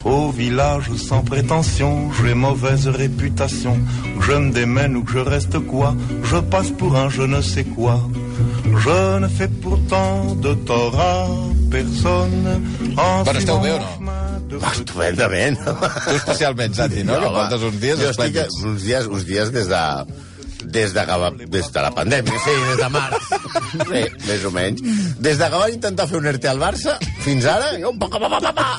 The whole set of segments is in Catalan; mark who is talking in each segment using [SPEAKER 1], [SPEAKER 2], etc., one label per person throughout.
[SPEAKER 1] Au village sans prétention, j'ai mauvaise réputation. Que je me démène ou que je reste quoi, je passe pour un je ne sais quoi. Je ne fais pourtant de tort à personne. En
[SPEAKER 2] Bueno, esteu
[SPEAKER 1] suivant
[SPEAKER 2] bé o
[SPEAKER 1] le
[SPEAKER 2] no?
[SPEAKER 1] chemin de
[SPEAKER 3] Estupendament.
[SPEAKER 2] Tu especialment, Santi, no? que
[SPEAKER 3] home,
[SPEAKER 2] portes uns dies
[SPEAKER 3] jo estic
[SPEAKER 2] esplèndids.
[SPEAKER 3] uns dies, uns dies des de des de, que va, des de la pandèmia, sí, des de març. Sí, més o menys. Des de que van intentar fer un ERTE al Barça, fins ara, jo, pa, pa, pa, pa, pa.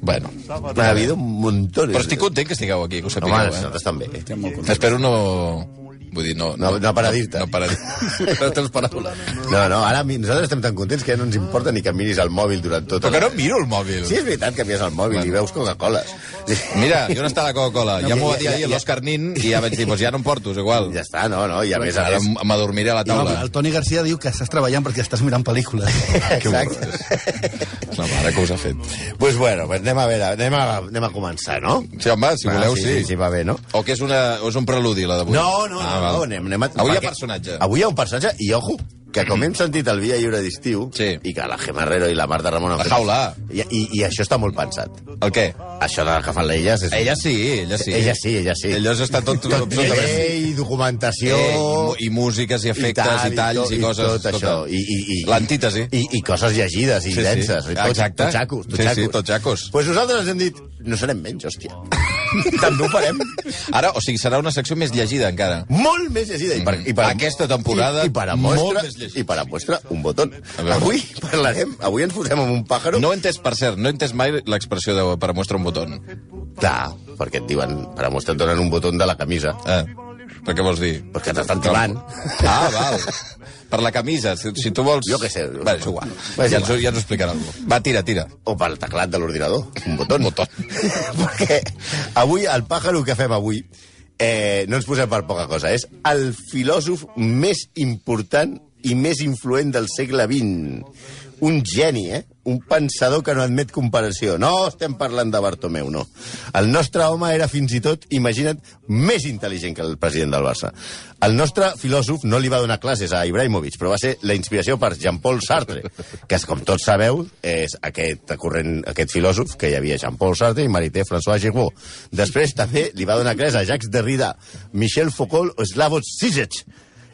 [SPEAKER 2] Bueno,
[SPEAKER 3] M'ha habido un muntó. eh?
[SPEAKER 2] però estic content que estigueu aquí, que ho
[SPEAKER 3] Home,
[SPEAKER 2] sapigueu, eh?
[SPEAKER 3] nosaltres també.
[SPEAKER 2] Espero no... Vull dir, no...
[SPEAKER 3] No- no paradir-te.
[SPEAKER 2] No, no paradir les teves paraules.
[SPEAKER 3] No, no, ara mi- nosaltres estem tan contents que ja no ens importa ni que miris el mòbil durant tot
[SPEAKER 2] Però
[SPEAKER 3] el...
[SPEAKER 2] que no em miro el mòbil.
[SPEAKER 3] Sí, és veritat que mires el mòbil i veus Coca-Coles.
[SPEAKER 2] Mira, i on està la Coca-Cola?
[SPEAKER 3] No,
[SPEAKER 2] ja
[SPEAKER 3] ja-
[SPEAKER 2] m'ho va dir
[SPEAKER 3] ja-
[SPEAKER 2] ahir
[SPEAKER 3] ja-
[SPEAKER 2] l'Òscar Nin i ja vaig dir, doncs ja no em porto, és igual.
[SPEAKER 3] Ja està, no, no, i a més a
[SPEAKER 2] Ara
[SPEAKER 3] més...
[SPEAKER 2] m- m'adormiré a la
[SPEAKER 4] No,
[SPEAKER 2] taula.
[SPEAKER 4] el Toni Garcia diu que estàs treballant perquè estàs mirant pel·lícules.
[SPEAKER 2] Que
[SPEAKER 3] Exacte.
[SPEAKER 2] horror. La mare que us ha fet.
[SPEAKER 3] Pues bueno, pues anem a veure, anem a, anem a començar, no?
[SPEAKER 2] Sí, home, si voleu,
[SPEAKER 3] Ah,
[SPEAKER 2] sí.
[SPEAKER 3] sí, sí, sí, va bé, no?
[SPEAKER 2] O que és, una, o és un preludi, la d'avui?
[SPEAKER 3] No, no,
[SPEAKER 2] Ah,
[SPEAKER 3] no,
[SPEAKER 2] val.
[SPEAKER 3] no, anem, anem a...
[SPEAKER 2] Avui hi ha
[SPEAKER 3] perquè-
[SPEAKER 2] personatge.
[SPEAKER 3] Avui hi ha un personatge, i ojo, que com hem sentit el Via Lliure d'estiu,
[SPEAKER 2] Sí.
[SPEAKER 3] i que la Gemma Herrero i la Marta Ramon... han
[SPEAKER 2] La
[SPEAKER 3] fet-
[SPEAKER 2] jaula.
[SPEAKER 3] I, i, I això està molt pensat.
[SPEAKER 2] El què?
[SPEAKER 3] Això de que fan elles... És...
[SPEAKER 2] Ella sí, ella sí.
[SPEAKER 3] Ella sí, ella sí.
[SPEAKER 2] Ella està tot...
[SPEAKER 3] Tot
[SPEAKER 2] absolutament-
[SPEAKER 3] llei,
[SPEAKER 2] Eh,
[SPEAKER 3] documentació...
[SPEAKER 2] i, mu- I músiques i efectes i, talls i,
[SPEAKER 3] tot-
[SPEAKER 2] coses.
[SPEAKER 3] Tot això. I, i, i,
[SPEAKER 2] L'antítesi.
[SPEAKER 3] I, I coses llegides i
[SPEAKER 2] Sí, sí.
[SPEAKER 3] sí, denses. I tot,
[SPEAKER 2] Exacte.
[SPEAKER 3] Tot xacos, tot
[SPEAKER 2] Sí, sí,
[SPEAKER 3] xacos.
[SPEAKER 2] tot xacos.
[SPEAKER 3] pues nosaltres hem dit, no serem menys, hòstia. També ho farem.
[SPEAKER 2] Ara, o sigui, serà una secció més llegida encara.
[SPEAKER 3] Molt més llegida. I per, i per,
[SPEAKER 2] Aquesta temporada,
[SPEAKER 3] I, i per a
[SPEAKER 2] molt
[SPEAKER 3] mostra,
[SPEAKER 2] més llegida.
[SPEAKER 3] I per a mostra, un botó.
[SPEAKER 2] veure.
[SPEAKER 3] Avui parlarem, avui ens posem amb un pàjaro.
[SPEAKER 2] No he entès, per cert, no he entès mai l'expressió de per a mostra un botó.
[SPEAKER 3] Clar, perquè et diuen, per a mostra et donen un botó de la camisa.
[SPEAKER 2] Eh, per què vols dir?
[SPEAKER 3] Perquè t'estan tibant.
[SPEAKER 2] Ah, val. Per la camisa, si, si tu vols...
[SPEAKER 3] Jo què sé.
[SPEAKER 2] Va, és igual.
[SPEAKER 3] Va, és
[SPEAKER 2] ja, ens,
[SPEAKER 3] igual.
[SPEAKER 2] ja ens ho explicarà algú. Va, tira, tira.
[SPEAKER 3] O pel teclat de l'ordinador. Un botó. Un botó. perquè avui, el pàjaro que fem avui, eh, no ens posem per poca cosa. És el filòsof més important i més influent del segle XX. Un geni, eh? Un pensador que no admet comparació. No estem parlant de Bartomeu, no. El nostre home era fins i tot, imagina't, més intel·ligent que el president del Barça. El nostre filòsof no li va donar classes a Ibrahimovic, però va ser la inspiració per Jean-Paul Sartre, que, com tots sabeu, és aquest corrent, aquest filòsof que hi havia Jean-Paul Sartre i Marité François Giraud. Després també li va donar classes a Jacques Derrida, Michel Foucault o Slavoj Zizek.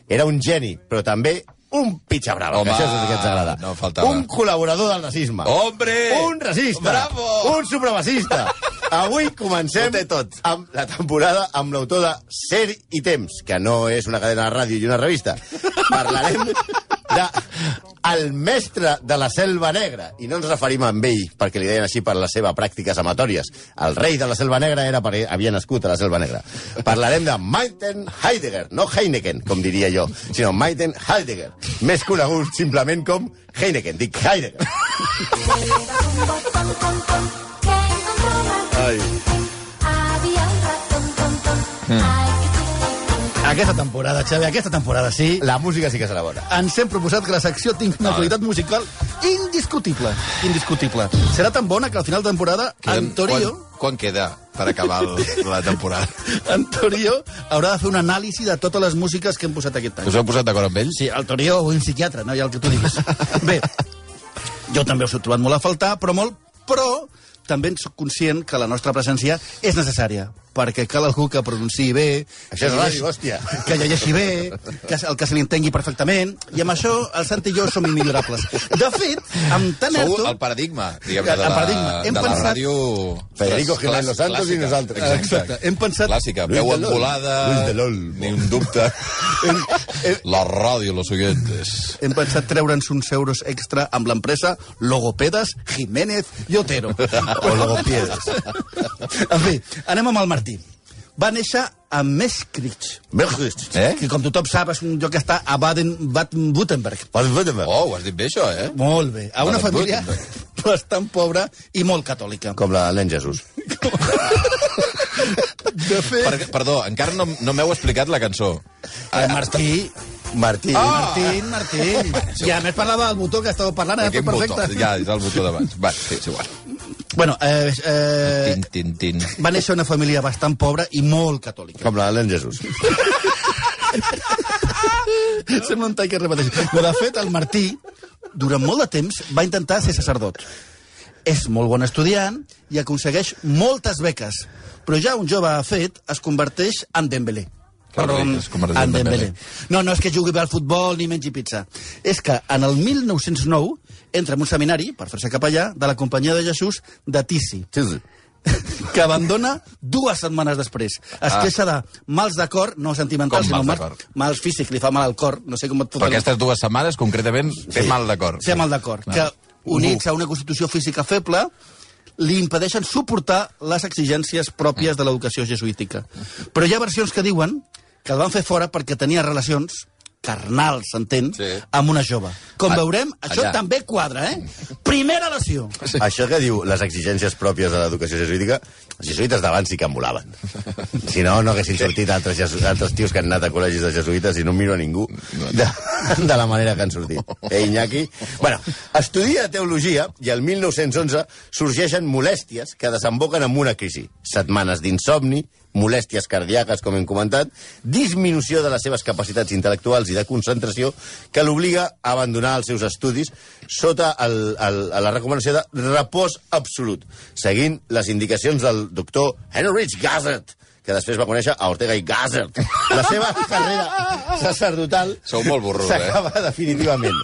[SPEAKER 3] Era un geni, però també un pitxa brava,
[SPEAKER 2] Home,
[SPEAKER 3] que això és el que ens agrada.
[SPEAKER 2] no faltava.
[SPEAKER 3] Un col·laborador del racisme.
[SPEAKER 2] Hombre!
[SPEAKER 3] Un racista.
[SPEAKER 2] Bravo!
[SPEAKER 3] Un supremacista. Avui comencem tot. amb la temporada amb l'autor de Ser i Temps, que no és una cadena de ràdio i una revista. Parlarem de el mestre de la selva negra. I no ens referim a ell, perquè li deien així per les seves pràctiques amatòries. El rei de la selva negra era perquè havia nascut a la selva negra. Parlarem de Maiten Heidegger, no Heineken, com diria jo, sinó Maiten Heidegger, més conegut simplement com Heineken, dic Heidegger. Ai.
[SPEAKER 4] Aquesta temporada, Xavi, aquesta temporada sí.
[SPEAKER 3] La música sí que serà bona.
[SPEAKER 4] Ens hem proposat que la secció tingui una qualitat musical indiscutible. Indiscutible. Serà tan bona que al final de temporada en Torio,
[SPEAKER 2] Quan, quan queda per acabar el, la temporada?
[SPEAKER 4] en Torio haurà de fer un anàlisi de totes les músiques que hem posat aquest any.
[SPEAKER 2] Us heu posat d'acord amb ells?
[SPEAKER 4] Sí, el Torio o un psiquiatre, no hi ha el que tu diguis. Bé, jo també us he trobat molt a faltar, però molt, però també ens soc conscient que la nostra presència és necessària, perquè cal algú que pronunciï bé...
[SPEAKER 3] Això és
[SPEAKER 4] que
[SPEAKER 3] ràdio,
[SPEAKER 4] llegeixi-
[SPEAKER 3] hòstia.
[SPEAKER 4] Que llegeixi bé, que el que se li entengui perfectament, i amb això el Santi i jo som immillorables. De fet, amb tan
[SPEAKER 2] Sou
[SPEAKER 4] erto...
[SPEAKER 2] el paradigma, diguem de
[SPEAKER 4] El
[SPEAKER 2] la,
[SPEAKER 4] paradigma.
[SPEAKER 2] de
[SPEAKER 4] Hem
[SPEAKER 2] la
[SPEAKER 4] pensat-
[SPEAKER 2] ràdio...
[SPEAKER 3] Federico
[SPEAKER 2] clas-
[SPEAKER 3] Jiménez Los Santos
[SPEAKER 2] clàssica.
[SPEAKER 3] i nosaltres.
[SPEAKER 4] Exacte, hem pensat-
[SPEAKER 2] Clàssica,
[SPEAKER 3] Luis
[SPEAKER 2] veu
[SPEAKER 3] de Lol.
[SPEAKER 2] embolada...
[SPEAKER 3] Luis de Lol.
[SPEAKER 2] Ni un dubte. la ràdio, los oyentes.
[SPEAKER 4] Hem pensat treure'ns uns euros extra amb l'empresa Logopedes Jiménez i Otero.
[SPEAKER 3] O logopiedes.
[SPEAKER 4] en fi, anem amb el Martí. Va néixer a Meskrich,
[SPEAKER 3] Bergrist.
[SPEAKER 2] Eh?
[SPEAKER 4] que com tothom sap és un lloc que està a Baden-Württemberg.
[SPEAKER 3] Pues vete-me.
[SPEAKER 2] Oh, ho has dit bé, això, eh?
[SPEAKER 4] Molt bé. A una família
[SPEAKER 2] Baden-Württemberg.
[SPEAKER 4] Eh, bastant pobra i molt catòlica.
[SPEAKER 3] Com la del nen Jesús.
[SPEAKER 4] De fet...
[SPEAKER 2] Per, perdó, encara no, no m'heu explicat la cançó. Ah.
[SPEAKER 4] Eh, Martí,
[SPEAKER 3] Martí.
[SPEAKER 4] Ah! Martín, Martín. I a més parlava del botó que estava parlant, ara tot Ah, perfecte.
[SPEAKER 2] botó? Ja, és el botó d'abans. Va, sí, és igual.
[SPEAKER 4] Bueno, eh, eh,
[SPEAKER 2] Tin, tin, tin.
[SPEAKER 4] va néixer una família bastant pobra i molt catòlica.
[SPEAKER 3] Com l'Alan Jesús.
[SPEAKER 4] Sembla un tall que es repeteix. Però, de fet, el Martí, durant molt de temps, va intentar ser sacerdot. És molt bon estudiant i aconsegueix moltes beques, però ja un jove fet es converteix en Dembélé.
[SPEAKER 2] Clar,
[SPEAKER 4] Perdó,
[SPEAKER 2] es converteix en Dembélé.
[SPEAKER 4] No, no és que jugui bé al futbol ni mengi pizza. És que en el 1909 entra en un seminari, per fer-se capellà, de la companyia de Jesús de Tisi que abandona dues setmanes després. Es
[SPEAKER 2] Ah.
[SPEAKER 4] queixa de mals de cor, no
[SPEAKER 2] Com
[SPEAKER 4] sentimentals, sinó
[SPEAKER 2] mals de
[SPEAKER 4] mals,
[SPEAKER 2] cor?
[SPEAKER 4] mals físics, li fa mal al cor, no sé com et pot...
[SPEAKER 2] Però aquestes dues setmanes, concretament, té sí. mal d'acord.
[SPEAKER 4] Fer mal de cor, que units a una constitució física feble li impedeixen suportar les exigències pròpies de l'educació jesuítica. Però hi ha versions que diuen que el van fer fora perquè tenia relacions carnals, s'entén, sí.
[SPEAKER 2] Sí.
[SPEAKER 4] amb una jove. Com
[SPEAKER 2] Ah,
[SPEAKER 4] veurem, això
[SPEAKER 2] allà.
[SPEAKER 4] també quadra, eh? Primera lesió.
[SPEAKER 3] Sí. Això que diu les exigències pròpies de l'educació jesuïtica, els jesuïtes d'abans sí que en volaven. Si no, no haguessin sortit altres, jesu... altres tios que han anat a col·legis de jesuïtes i no miro a ningú de, de la manera que han sortit. Eh, Iñaki? Bueno, estudia teologia i el 1911 sorgeixen molèsties que desemboquen en una crisi. Setmanes d'insomni, molèsties cardíaques, com hem comentat, disminució de les seves capacitats intel·lectuals i de concentració que l'obliga a abandonar els seus estudis sota el, el, a la recomanació de repòs absolut, seguint les indicacions del doctor Heinrich Gazzard, que després va conèixer a Ortega i Gazzard. La seva carrera sacerdotal
[SPEAKER 2] Sou molt burros, eh?
[SPEAKER 3] s'acaba definitivament.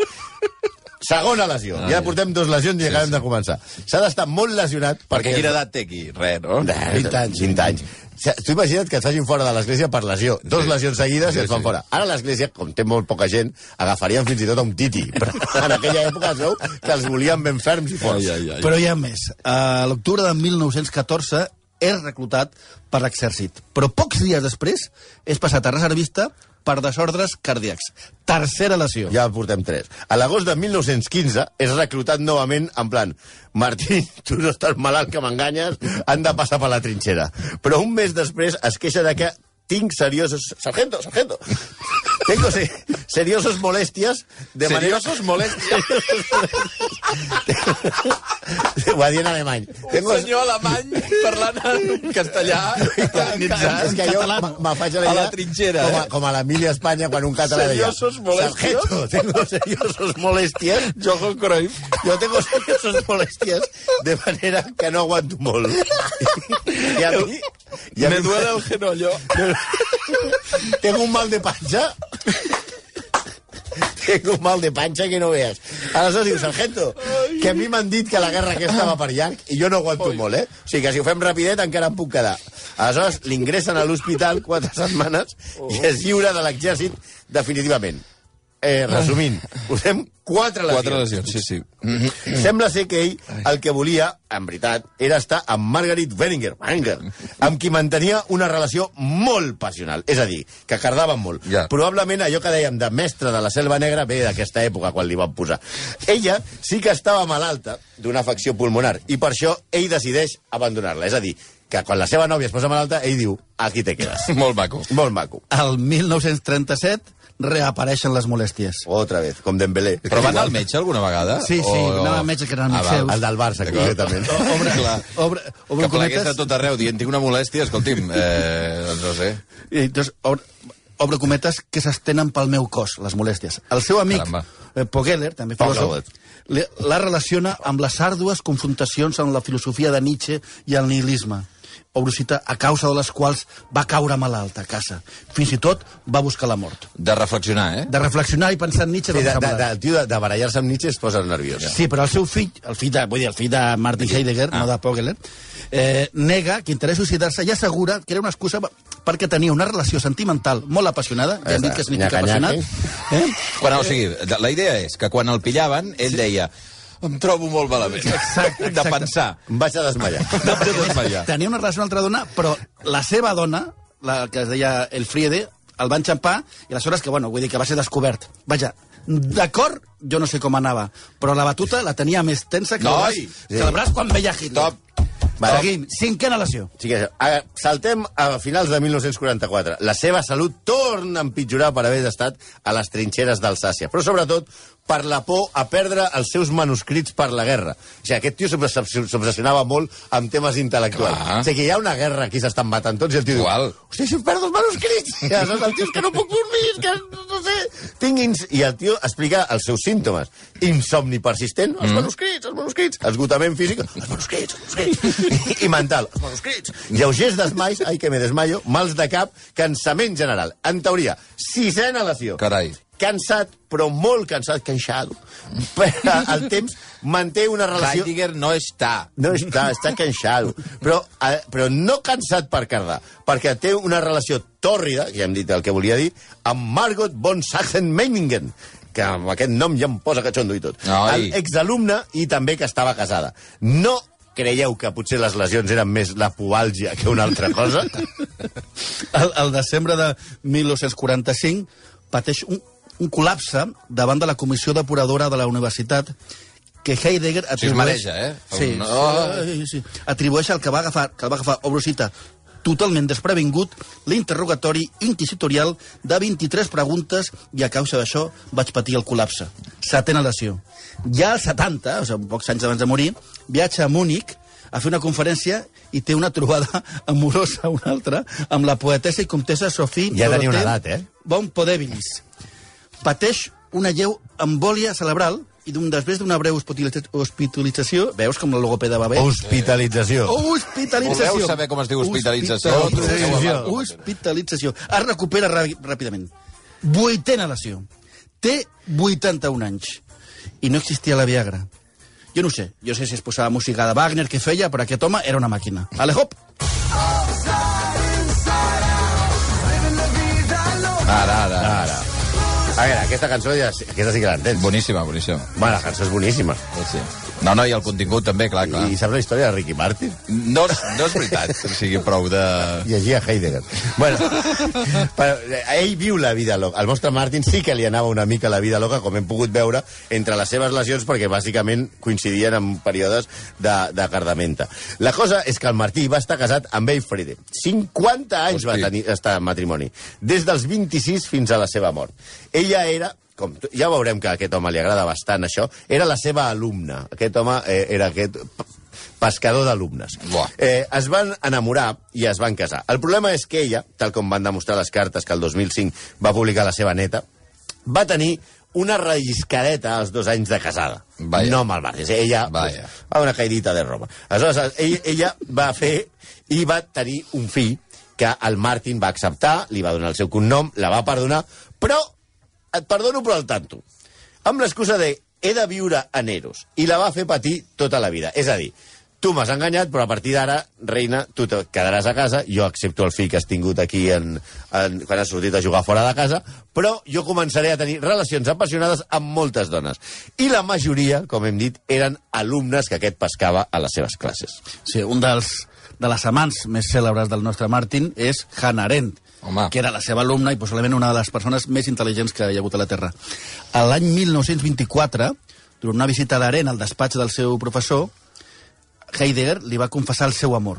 [SPEAKER 3] Segona lesió. Ja portem dues lesions i acabem de començar. S'ha d'estar molt lesionat
[SPEAKER 2] Perquè quina edat té aquí? Res, no?
[SPEAKER 3] 20 anys. 20 anys. O sigui, Tu imagina't que et facin fora de l'església per lesió. Dos
[SPEAKER 2] Sí.
[SPEAKER 3] lesions seguides
[SPEAKER 2] Sí,
[SPEAKER 3] i et
[SPEAKER 2] sí.
[SPEAKER 3] fan fora. Ara l'església, com té molt poca gent, agafarien fins i tot a un titi. Però en aquella època es veu que els volien ben ferms i forts.
[SPEAKER 2] Ai, ai, ai.
[SPEAKER 4] Però hi ha més. A l'octubre de 1914 és reclutat per l'exèrcit, però pocs dies després és passat a reservista per desordres cardíacs. Tercera lesió.
[SPEAKER 3] Ja en portem tres. A l'agost de 1915 és reclutat novament en plan Martí, tu no estàs malalt que m'enganyes, han de passar per la trinxera. Però un mes després es queixa de que tinc seriosos... Sargento, sargento! Tengo se... seriosos molèsties de manera...
[SPEAKER 2] Seriosos molèsties.
[SPEAKER 3] Ho va dir en alemany. Tengo...
[SPEAKER 2] Senyor alemany parlant en castellà.
[SPEAKER 3] És que jo me- me faig a la,
[SPEAKER 2] A la
[SPEAKER 3] idea
[SPEAKER 2] trinxera,
[SPEAKER 3] Com a,
[SPEAKER 2] eh?
[SPEAKER 3] com a l'Emília Espanya, quan un català deia...
[SPEAKER 2] Seriosos molèsties?
[SPEAKER 3] Sargento, tengo seriosos molèsties.
[SPEAKER 2] Johan Cruyff.
[SPEAKER 3] Yo tengo seriosas molestias de manera que no aguanto molt. I a mi... I a mi
[SPEAKER 2] el genollo.
[SPEAKER 3] tengo un mal de panxa. Tengo un mal de panxa que no veas. Aleshores diu, sargento, que a mi m'han dit que la guerra aquesta va per llarg i jo no aguanto Oi. molt, eh? O sigui que si ho fem rapidet encara em puc quedar. Aleshores l'ingressen a l'hospital quatre setmanes i es lliura de l'exèrcit definitivament. Eh, resumint, posem quatre lesions.
[SPEAKER 2] Quatre lesions, sí, sí.
[SPEAKER 3] Mhm. Sembla ser que ell el que volia, en veritat, era estar amb Margaret Weninger, Wenger, amb qui mantenia una relació molt passional. És a dir, que cardaven molt.
[SPEAKER 2] Ja.
[SPEAKER 3] Probablement allò que dèiem de mestre de la selva negra ve d'aquesta època, quan li van posar. Ella sí que estava malalta d'una afecció pulmonar, i per això ell decideix abandonar-la. És a dir, que quan la seva nòvia es posa malalta, ell diu, aquí te quedes.
[SPEAKER 2] Molt maco.
[SPEAKER 3] Molt maco.
[SPEAKER 4] Al 1937 reapareixen les molèsties.
[SPEAKER 3] Otra vez, com Dembélé.
[SPEAKER 2] Però va anar al metge alguna vegada?
[SPEAKER 4] Sí, sí,
[SPEAKER 2] O-
[SPEAKER 4] anava al metge, que era amic
[SPEAKER 2] Ah, val.
[SPEAKER 4] seu.
[SPEAKER 3] El del Barça,
[SPEAKER 2] D'acord.
[SPEAKER 3] concretament.
[SPEAKER 4] Obre,
[SPEAKER 2] Clar.
[SPEAKER 4] obre, obre
[SPEAKER 2] que plegués a
[SPEAKER 4] cometes...
[SPEAKER 2] tot arreu dient tinc una molèstia, escolti'm, eh, doncs no sé.
[SPEAKER 4] I, doncs, obre, obre cometes que s'estenen pel meu cos, les molèsties. El seu amic,
[SPEAKER 2] Caramba.
[SPEAKER 4] eh, Pogeller, també filòsof, li- la relaciona amb les àrdues confrontacions amb la filosofia de Nietzsche i el nihilisme obrucita a causa de les quals va caure malalta a casa. Fins i tot va buscar la mort.
[SPEAKER 2] De reflexionar, eh?
[SPEAKER 4] De reflexionar i pensar en Nietzsche...
[SPEAKER 3] Sí, de,
[SPEAKER 4] va
[SPEAKER 3] de,
[SPEAKER 4] buscar
[SPEAKER 3] de,
[SPEAKER 4] la mort.
[SPEAKER 3] el tio de, de barallar-se amb Nietzsche es posa nerviós.
[SPEAKER 4] Sí, però el seu fill, el fill de, vull dir, el fill de Martin Heidegger, no
[SPEAKER 2] Ah.
[SPEAKER 4] de Pogeler, eh, nega que interès suïcidar-se i assegura que era una excusa perquè tenia una relació sentimental molt apassionada, ja hem dit que significa
[SPEAKER 3] Nyaka-nyaki.
[SPEAKER 4] apassionat, eh?
[SPEAKER 2] Quan, o sigui, de- la idea és que quan el pillaven, ell deia em trobo molt malament.
[SPEAKER 4] Exacte,
[SPEAKER 2] De
[SPEAKER 4] exacte.
[SPEAKER 2] pensar.
[SPEAKER 3] Em vaig a desmallar.
[SPEAKER 2] De pensar.
[SPEAKER 4] Tenia una relació amb una altra dona, però la seva dona, la que es deia el Friede, el va enxampar i aleshores que, bueno, vull dir que va ser descobert. Vaja, d'acord, jo no sé com anava, però la batuta la tenia més tensa que,
[SPEAKER 2] Noi!
[SPEAKER 4] el, braç, que el braç quan veia Hitler.
[SPEAKER 2] Stop.
[SPEAKER 3] Va,
[SPEAKER 4] Seguim. Cinquena lesió.
[SPEAKER 3] Sí que, a- saltem a finals de 1944. La seva salut torna a empitjorar per haver estat a les trinxeres d'Alsàcia, però sobretot per la por a perdre els seus manuscrits per la guerra. O sigui, aquest tio s'obs- s'obsessionava molt amb temes intel·lectuals.
[SPEAKER 2] Clar.
[SPEAKER 3] O sigui, que hi ha una guerra, aquí s'estan matant tots, i el tio
[SPEAKER 2] Igual.
[SPEAKER 3] diu... Hòstia, si em perdo els manuscrits! I aleshores el tio és que no puc dormir, és que no sé... Tinc ins... I el tio explica els seus símptomes. Insomni persistent,
[SPEAKER 2] Mm.
[SPEAKER 3] els manuscrits, els manuscrits, esgotament físic, els manuscrits, els manuscrits, i, i mental, els manuscrits, lleugers desmais, ai que me desmaio, mals de cap, cansament general. En teoria, sisena lesió
[SPEAKER 2] Carai.
[SPEAKER 3] cansat, però molt cansat, cansado. Però el temps manté una relació...
[SPEAKER 2] Heidegger no està.
[SPEAKER 3] No està, està cansado. Però, eh, però no cansat per cardar, perquè té una relació tòrrida, ja hem dit el que volia dir, amb Margot von Sachsen-Meiningen, que amb aquest nom ja em posa catxondo i tot.
[SPEAKER 2] Ai.
[SPEAKER 3] El exalumne i també que estava casada. No creieu que potser les lesions eren més la puàlgia que una altra cosa?
[SPEAKER 4] El, el desembre de 1945 pateix un, un col·lapse davant de la comissió depuradora de la universitat que Heidegger atribueix...
[SPEAKER 2] mareja, eh?
[SPEAKER 4] Sí,
[SPEAKER 2] No.
[SPEAKER 4] sí, sí, sí. Atribueix al que va agafar, que el va agafar Obrosita totalment desprevingut l'interrogatori inquisitorial de 23 preguntes i a causa d'això vaig patir el col·lapse. Setena lesió. Ja als 70, o sigui, pocs anys abans de morir, viatja a Múnich a fer una conferència i té una trobada amorosa, una altra, amb la poetessa i comtessa Sophie...
[SPEAKER 3] Ja tenia una
[SPEAKER 4] Dorothée
[SPEAKER 3] edat, eh?
[SPEAKER 4] Von Podevilis pateix una lleu embòlia cerebral i d'un després d'una breu hospitalitza- hospitalització, veus com la logopeda va bé?
[SPEAKER 3] Oh, Hospitalització.
[SPEAKER 4] Hospitalització.
[SPEAKER 2] Voleu saber com es diu hospitalització?
[SPEAKER 4] Hospitalització.
[SPEAKER 2] Trobeu-ho a
[SPEAKER 4] Hospitalització. Es recupera rà- ràpidament. Vuitena lesió. Té 81 anys. I no existia la Viagra. Jo no ho sé. Jo sé si es posava música de Wagner que feia, però aquest home era una màquina. Ale, hop!
[SPEAKER 2] Ara, ara, ara.
[SPEAKER 3] A veure, aquesta cançó ja, aquesta sí que l'entens.
[SPEAKER 2] Boníssima, boníssima.
[SPEAKER 3] Bueno, la cançó és boníssima.
[SPEAKER 2] Sí, sí. No, no, i el contingut també, clar, clar.
[SPEAKER 3] I saps la història de Ricky Martin?
[SPEAKER 2] No, és- no és veritat, o sigui, prou de...
[SPEAKER 3] Llegia Heidegger. Bueno, però eh, ell viu la vida loca. Al vostre Martin sí que li anava una mica la vida loca, com hem pogut veure, entre les seves lesions, perquè bàsicament coincidien amb períodes de, de cardamenta. La cosa és que el Martí va estar casat amb Elfride. 50 anys
[SPEAKER 2] Hosti.
[SPEAKER 3] va tenir estar en matrimoni. Des dels 26 fins a la seva mort. Ella era com, tu- ja veurem que a aquest home li agrada bastant això, era la seva alumna. Aquest home eh, era aquest p- pescador d'alumnes.
[SPEAKER 2] Buah.
[SPEAKER 3] Eh, es van enamorar i es van casar. El problema és que ella, tal com van demostrar les cartes que el 2005 va publicar la seva neta, va tenir una relliscareta als dos anys de casada.
[SPEAKER 2] Vaya.
[SPEAKER 3] No mal barri. Ella
[SPEAKER 2] Vaya.
[SPEAKER 3] Pues, a una caidita de roba. Aleshores, ell, ella va fer i va tenir un fill que el Martin va acceptar, li va donar el seu cognom, la va perdonar, però et perdono però al tanto. Amb l'excusa de he de viure en Eros. I la va fer patir tota la vida. És a dir, tu m'has enganyat, però a partir d'ara, reina, tu te quedaràs a casa, jo accepto el fill que has tingut aquí en, en, quan has sortit a jugar fora de casa, però jo començaré a tenir relacions apassionades amb moltes dones. I la majoria, com hem dit, eren alumnes que aquest pescava a les seves classes.
[SPEAKER 4] Sí, un dels de les amants més cèlebres del nostre Martin és Hannah Arendt,
[SPEAKER 2] Home.
[SPEAKER 4] que era la seva alumna i possiblement una de les persones més intel·ligents que hi ha hagut a la Terra. A L'any 1924, durant una visita d'Arendt al despatx del seu professor, Heidegger li va confessar el seu amor.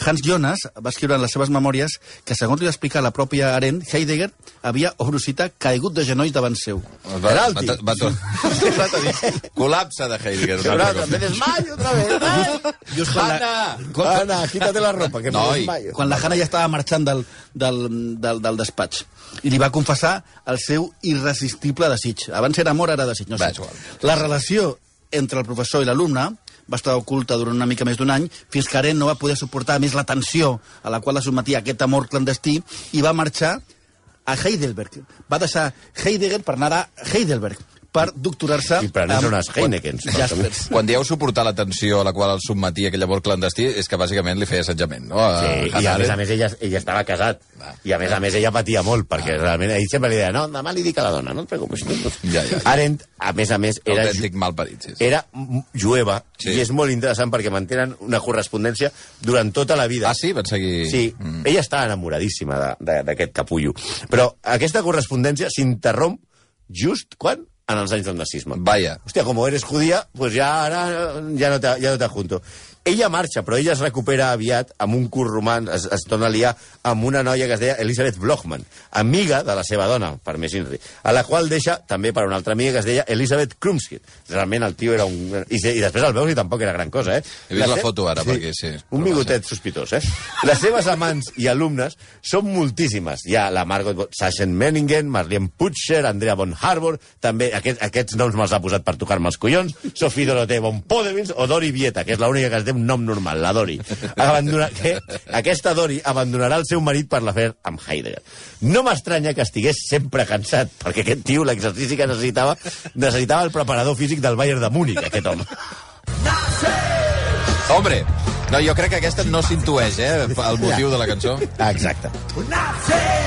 [SPEAKER 4] Hans Jonas va escriure en les seves memòries que, segons li va explicar la pròpia Arendt, Heidegger havia, obrosita, caigut de genolls davant seu.
[SPEAKER 3] Penalti.
[SPEAKER 2] Va, va, va, va tenir col·lapse de Heidegger. una
[SPEAKER 3] Però
[SPEAKER 2] altra
[SPEAKER 3] ara,
[SPEAKER 2] cosa.
[SPEAKER 3] me desmayo otra vez. Ay.
[SPEAKER 4] Just quan la- quan-
[SPEAKER 3] Ana, quítate la ropa, que me
[SPEAKER 2] Noi.
[SPEAKER 3] desmayo.
[SPEAKER 4] quan la Hanna ja estava marxant del, del, del, del despatx i li va confessar el seu irresistible desig. Abans era amor, ara desig. No
[SPEAKER 2] Va,
[SPEAKER 4] sé.
[SPEAKER 2] és igual.
[SPEAKER 4] La relació entre el professor i l'alumne va estar oculta durant una mica més d'un any, fins que Arendt no va poder suportar més la tensió a la qual la sotmetia aquest amor clandestí i va marxar a Heidelberg. Va deixar Heidegger per anar a Heidelberg per doctorar-se...
[SPEAKER 3] I prendre-se
[SPEAKER 4] amb-
[SPEAKER 3] unes Heinekens, per
[SPEAKER 4] Jaspers.
[SPEAKER 2] Quan dieu suportar la tensió a la qual el sotmetia aquell amor clandestí, és que bàsicament li feia assetjament, no? A
[SPEAKER 3] Sí, i
[SPEAKER 2] Hannah
[SPEAKER 3] a més a
[SPEAKER 2] Arendt.
[SPEAKER 3] més ella, ella estava casat. I a més a més ella patia molt, perquè realment ell sempre li deia no, demà li dic a la dona, no et preocupis.
[SPEAKER 2] Ja, ja.
[SPEAKER 3] Arendt, a més a més, era,
[SPEAKER 2] Autèntic malparit, sí, sí.
[SPEAKER 3] era m- jueva,
[SPEAKER 2] Sí.
[SPEAKER 3] sí. i és molt interessant perquè mantenen una correspondència durant tota la vida.
[SPEAKER 2] Ah, sí? Van seguir...
[SPEAKER 3] Sí, mm. ella està enamoradíssima de- de- d'aquest capullo. Però aquesta correspondència s'interromp just quan? En els anys del nazisme.
[SPEAKER 2] Vaya.
[SPEAKER 3] Hòstia, com eres judía, pues ja ara eh, ja no te, ja no te junto. Ella marxa, però ella es recupera aviat amb un curt roman, es, es torna a liar amb una noia que es deia Elizabeth Blochman, amiga de la seva dona, per més inri, a la qual deixa també per una altra amiga que es deia Elizabeth Krumskid. Realment el tio era un... I, se- i després el veus i tampoc era gran cosa, eh?
[SPEAKER 2] He vist la foto ara, perquè sí.
[SPEAKER 3] Un bigotet sospitós, eh? Les seves amants i alumnes són moltíssimes. Hi ha la Margot Bo- Sachen Meningen, Marlene Putcher, Andrea Von Harbour, també aquest, aquests noms me'ls ha posat per tocar-me els collons, Sophie Dorothea Von Podemins o Dori Vieta, que és l'única que es té un nom normal, la Dori. Abandona, que, aquesta Dori abandonarà el seu marit per l'afer amb Heidegger. No m'estranya que estigués sempre cansat, perquè aquest tio l'exercici que necessitava necessitava el preparador físic del Bayern de Múnich, aquest home.
[SPEAKER 2] Hombre, no, jo crec que aquesta no s'intueix, eh, el motiu de la cançó.
[SPEAKER 3] Ah, exacte.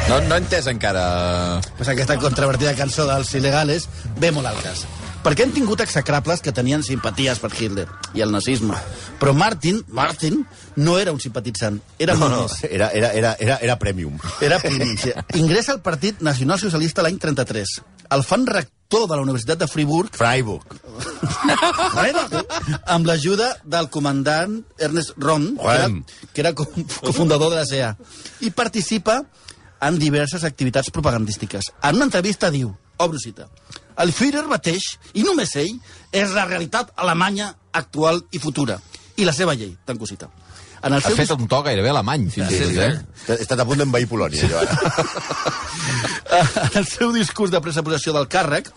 [SPEAKER 2] No, no he entès encara...
[SPEAKER 4] Pues aquesta controvertida cançó dels il·legales ve molt al cas. Perquè han tingut execrables que tenien simpaties per Hitler i el nazisme. Però Martin, Martin, no era un simpatitzant, era
[SPEAKER 3] No,
[SPEAKER 4] molt
[SPEAKER 3] no,
[SPEAKER 4] més.
[SPEAKER 3] era, era, era, era, era premium.
[SPEAKER 4] Era primícia. Ingressa al Partit Nacional Socialista l'any 33. El fan rector de la Universitat de Friburg
[SPEAKER 3] Freiburg.
[SPEAKER 4] amb l'ajuda del comandant Ernest Ron, que era,
[SPEAKER 3] Ron.
[SPEAKER 4] que era co- cofundador de la CEA, i participa en diverses activitats propagandístiques. En una entrevista diu, obro cita, el Führer mateix, i només ell, és la realitat alemanya actual i futura, i la seva llei, tanco cita. En el
[SPEAKER 2] Has
[SPEAKER 4] seu
[SPEAKER 2] fet un to gairebé alemany, fins i tot, eh?
[SPEAKER 3] He estat a punt d'envair Polònia, jo, ara.
[SPEAKER 4] en el seu discurs de presa possessió del càrrec,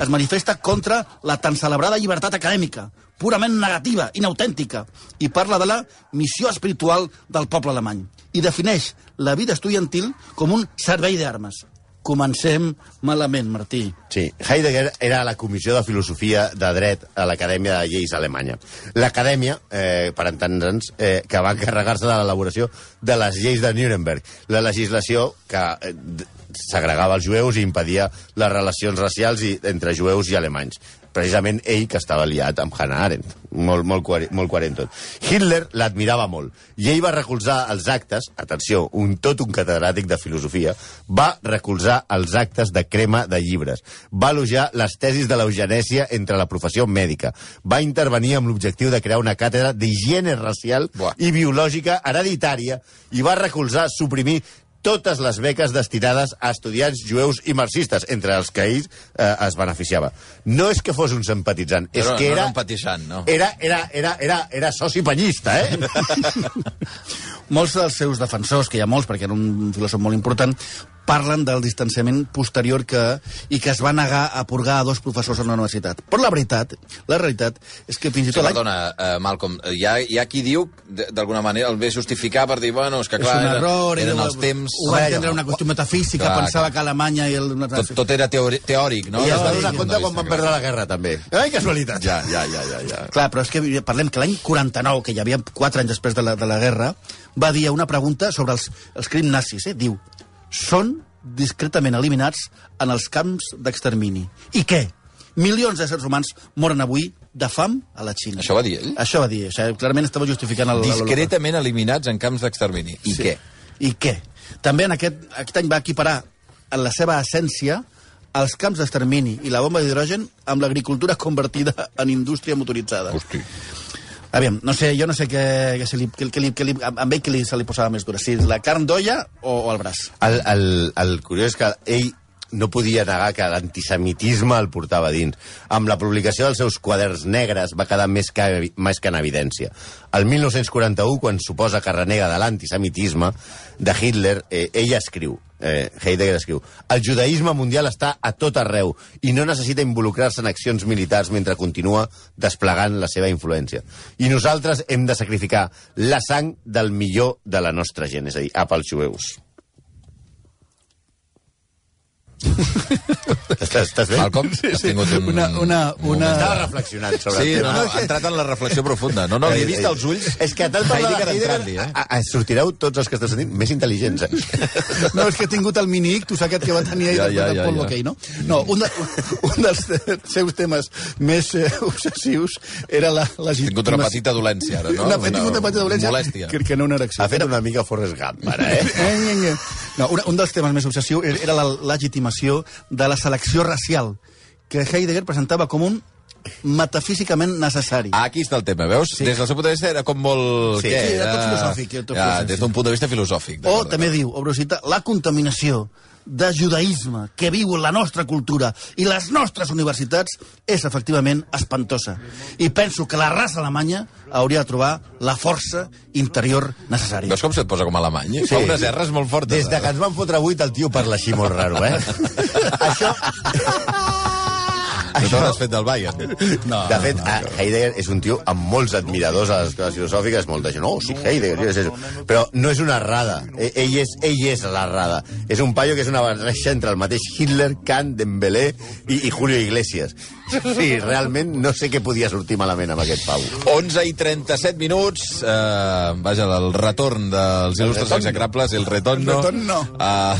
[SPEAKER 4] es manifesta contra la tan celebrada llibertat acadèmica, purament negativa, inautèntica, i parla de la missió espiritual del poble alemany. I defineix la vida estudiantil com un servei d'armes. Comencem malament, Martí.
[SPEAKER 3] Sí, Heidegger era a la Comissió de Filosofia de Dret a l'Acadèmia de Lleis Alemanya. L'acadèmia, eh, per entendre'ns, eh, que va encarregar-se de l'elaboració de les lleis de Nuremberg, la legislació que eh, d- segregava els jueus i impedia les relacions racials i, entre jueus i alemanys. Precisament ell que estava liat amb Hannah Arendt. Molt, molt, coherent- molt coherent tot. Hitler l'admirava molt i ell va recolzar els actes, atenció, un tot un catedràtic de filosofia, va recolzar els actes de crema de llibres, va elogiar les tesis de l'eugenèsia entre la professió mèdica, va intervenir amb l'objectiu de crear una càtedra d'higiene racial
[SPEAKER 2] Buah.
[SPEAKER 3] i biològica hereditària i va recolzar suprimir totes les beques destinades a estudiants jueus i marxistes, entre els que ell eh, es beneficiava. No és que fos un simpatitzant, és
[SPEAKER 2] Però no
[SPEAKER 3] que era...
[SPEAKER 2] era un patissant, no.
[SPEAKER 3] Era, era, era, era, era soci pallista, eh?
[SPEAKER 4] Molts dels seus defensors, que hi ha molts, perquè era un filòsof molt important, parlen del distanciament posterior que, i que es va negar a purgar a dos professors a la universitat. Però la veritat, la realitat, és que fins i
[SPEAKER 2] Sí,
[SPEAKER 4] tot... l'any-
[SPEAKER 2] perdona, eh, Malcolm, eh, hi ha, hi ha qui diu, d- d'alguna manera, el ve justificar per dir, bueno, és que clar,
[SPEAKER 4] és un
[SPEAKER 2] era-
[SPEAKER 4] error,
[SPEAKER 2] eren
[SPEAKER 4] era-
[SPEAKER 2] els temps...
[SPEAKER 4] Ho va entendre una qüestió metafísica,
[SPEAKER 2] Clar,
[SPEAKER 4] pensava que Alemanya i el...
[SPEAKER 2] Tot, tot era teori, teòric, no?
[SPEAKER 3] I es va
[SPEAKER 2] Des
[SPEAKER 3] donar
[SPEAKER 2] del punt
[SPEAKER 3] compte
[SPEAKER 2] de
[SPEAKER 3] quan
[SPEAKER 2] vista,
[SPEAKER 3] van
[SPEAKER 2] clar.
[SPEAKER 3] perdre la guerra, també. Ai, casualitat!
[SPEAKER 2] Ja, ja, ja, ja, ja.
[SPEAKER 4] Clar, però és que parlem que l'any 49, que hi havia 4 anys després de la, de la guerra, va dir una pregunta sobre els, els crims nazis, eh? Diu, són discretament eliminats en els camps d'extermini. I què? Milions d'éssers humans moren avui de fam a la Xina.
[SPEAKER 2] Això va dir ell?
[SPEAKER 4] Això va dir. O sigui, clarament estava justificant el... l'Holocaust.
[SPEAKER 2] Discretament eliminats en camps d'extermini. I
[SPEAKER 4] Sí.
[SPEAKER 2] què?
[SPEAKER 4] I què? També en aquest, aquest any va equiparar en la seva essència els camps d'extermini i la bomba d'hidrogen amb l'agricultura convertida en indústria motoritzada.
[SPEAKER 2] Hosti.
[SPEAKER 4] Aviam, no sé, jo no sé què, què, se li, què, què, li, què li, amb ell que li, se li posava més dura, si la carn d'olla o, o el braç.
[SPEAKER 3] El, el, el curiós és que ell no podia negar que l'antisemitisme el portava a dins. Amb la publicació dels seus quaderns negres va quedar més que, més que en evidència. El 1941, quan suposa que renega de l'antisemitisme de Hitler, eh, ell escriu, eh, Heidegger escriu, el judaïsme mundial està a tot arreu i no necessita involucrar-se en accions militars mentre continua desplegant la seva influència. I nosaltres hem de sacrificar la sang del millor de la nostra gent, és a dir, a pels jueus. Estàs, estàs bé?
[SPEAKER 2] Malcolm, has tingut un...
[SPEAKER 4] Una, una, una...
[SPEAKER 3] Estava reflexionant sobre
[SPEAKER 2] Sí,
[SPEAKER 3] el
[SPEAKER 2] no,
[SPEAKER 3] tema. Eh,
[SPEAKER 2] no, ha entrat en la reflexió profunda. No, no,
[SPEAKER 4] Eh,
[SPEAKER 2] li he vist els ulls.
[SPEAKER 3] És que tal parlar de
[SPEAKER 2] Heidegger
[SPEAKER 3] Heidegger,
[SPEAKER 2] entrant-li, eh?
[SPEAKER 3] a- a- sortireu tots els que esteu sentint més intel·ligents. Eh?
[SPEAKER 4] No, és que he tingut el mini-ictus aquest que va tenir ell
[SPEAKER 2] Ja,
[SPEAKER 4] ja,
[SPEAKER 2] ja,
[SPEAKER 4] ja,
[SPEAKER 2] ja,
[SPEAKER 4] Paul
[SPEAKER 2] ja.
[SPEAKER 4] Bocay, no? No, un, de, un dels te- seus temes més eh, obsessius era la
[SPEAKER 2] Ha
[SPEAKER 4] legitimació.
[SPEAKER 2] tingut una petita dolència, ara, no?
[SPEAKER 4] Una, he tingut una petita dolència
[SPEAKER 2] Molèstia.
[SPEAKER 4] que, que no una erecció.
[SPEAKER 3] Ha fet una mica Forrest Gump, ara, eh?
[SPEAKER 4] Eh? No, una, un dels temes més obsessiu era la legitimació de la selecció racial, que Heidegger presentava com un metafísicament necessari.
[SPEAKER 2] Aquí està el tema, veus?
[SPEAKER 4] Sí.
[SPEAKER 2] Des del seu punt de vista era com molt...
[SPEAKER 3] Sí,
[SPEAKER 2] què?
[SPEAKER 4] sí, era tot filosòfic, era tot
[SPEAKER 2] ja,
[SPEAKER 4] filosòfic.
[SPEAKER 2] des d'un punt de vista filosòfic.
[SPEAKER 4] O
[SPEAKER 2] d'acord,
[SPEAKER 4] també
[SPEAKER 2] d'acord.
[SPEAKER 4] diu, obro cita, la contaminació de judaïsme que viu la nostra cultura i les nostres universitats és efectivament espantosa. I penso que la raça alemanya hauria de trobar la força interior necessària.
[SPEAKER 2] Veus com se't posa com alemany? Sí. Fa unes erres molt fortes.
[SPEAKER 3] Des de que ens van fotre vuit, el tio parla així molt raro, eh? Això...
[SPEAKER 2] No t'hauràs fet del Bayern.
[SPEAKER 3] No, de fet, no, Heidegger és un tio amb molts admiradors a les escoles filosòfiques, molta gent, no, sí, Heidegger, és això. Però no és una errada, E- ell és, ell és l'errada. És un paio que és una barreja entre el mateix Hitler, Kant, Dembélé i, i Julio Iglesias. Sí, realment no sé què podia sortir malament amb aquest pau.
[SPEAKER 2] 11 i 37 minuts, eh, vaja, el retorn dels il·lustres
[SPEAKER 3] retorno.
[SPEAKER 2] execrables, el retorno...
[SPEAKER 4] El retorno.
[SPEAKER 2] Uh,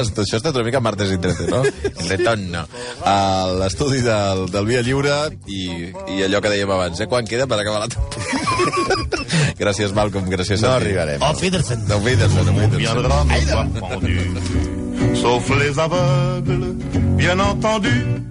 [SPEAKER 2] això està una mica martes i 13, no? El retorno. A l'estudi del, del Via Lliure i, i allò que dèiem abans, eh? Quan queda per acabar la temporada? gràcies, Malcolm, gràcies
[SPEAKER 3] No
[SPEAKER 2] a ti. Oh,
[SPEAKER 3] arribarem.
[SPEAKER 4] Auf Wiedersehen.
[SPEAKER 2] Auf Wiedersehen, auf Wiedersehen.
[SPEAKER 1] viendra nous voir pendus, sauf les aveugles, bien entendu.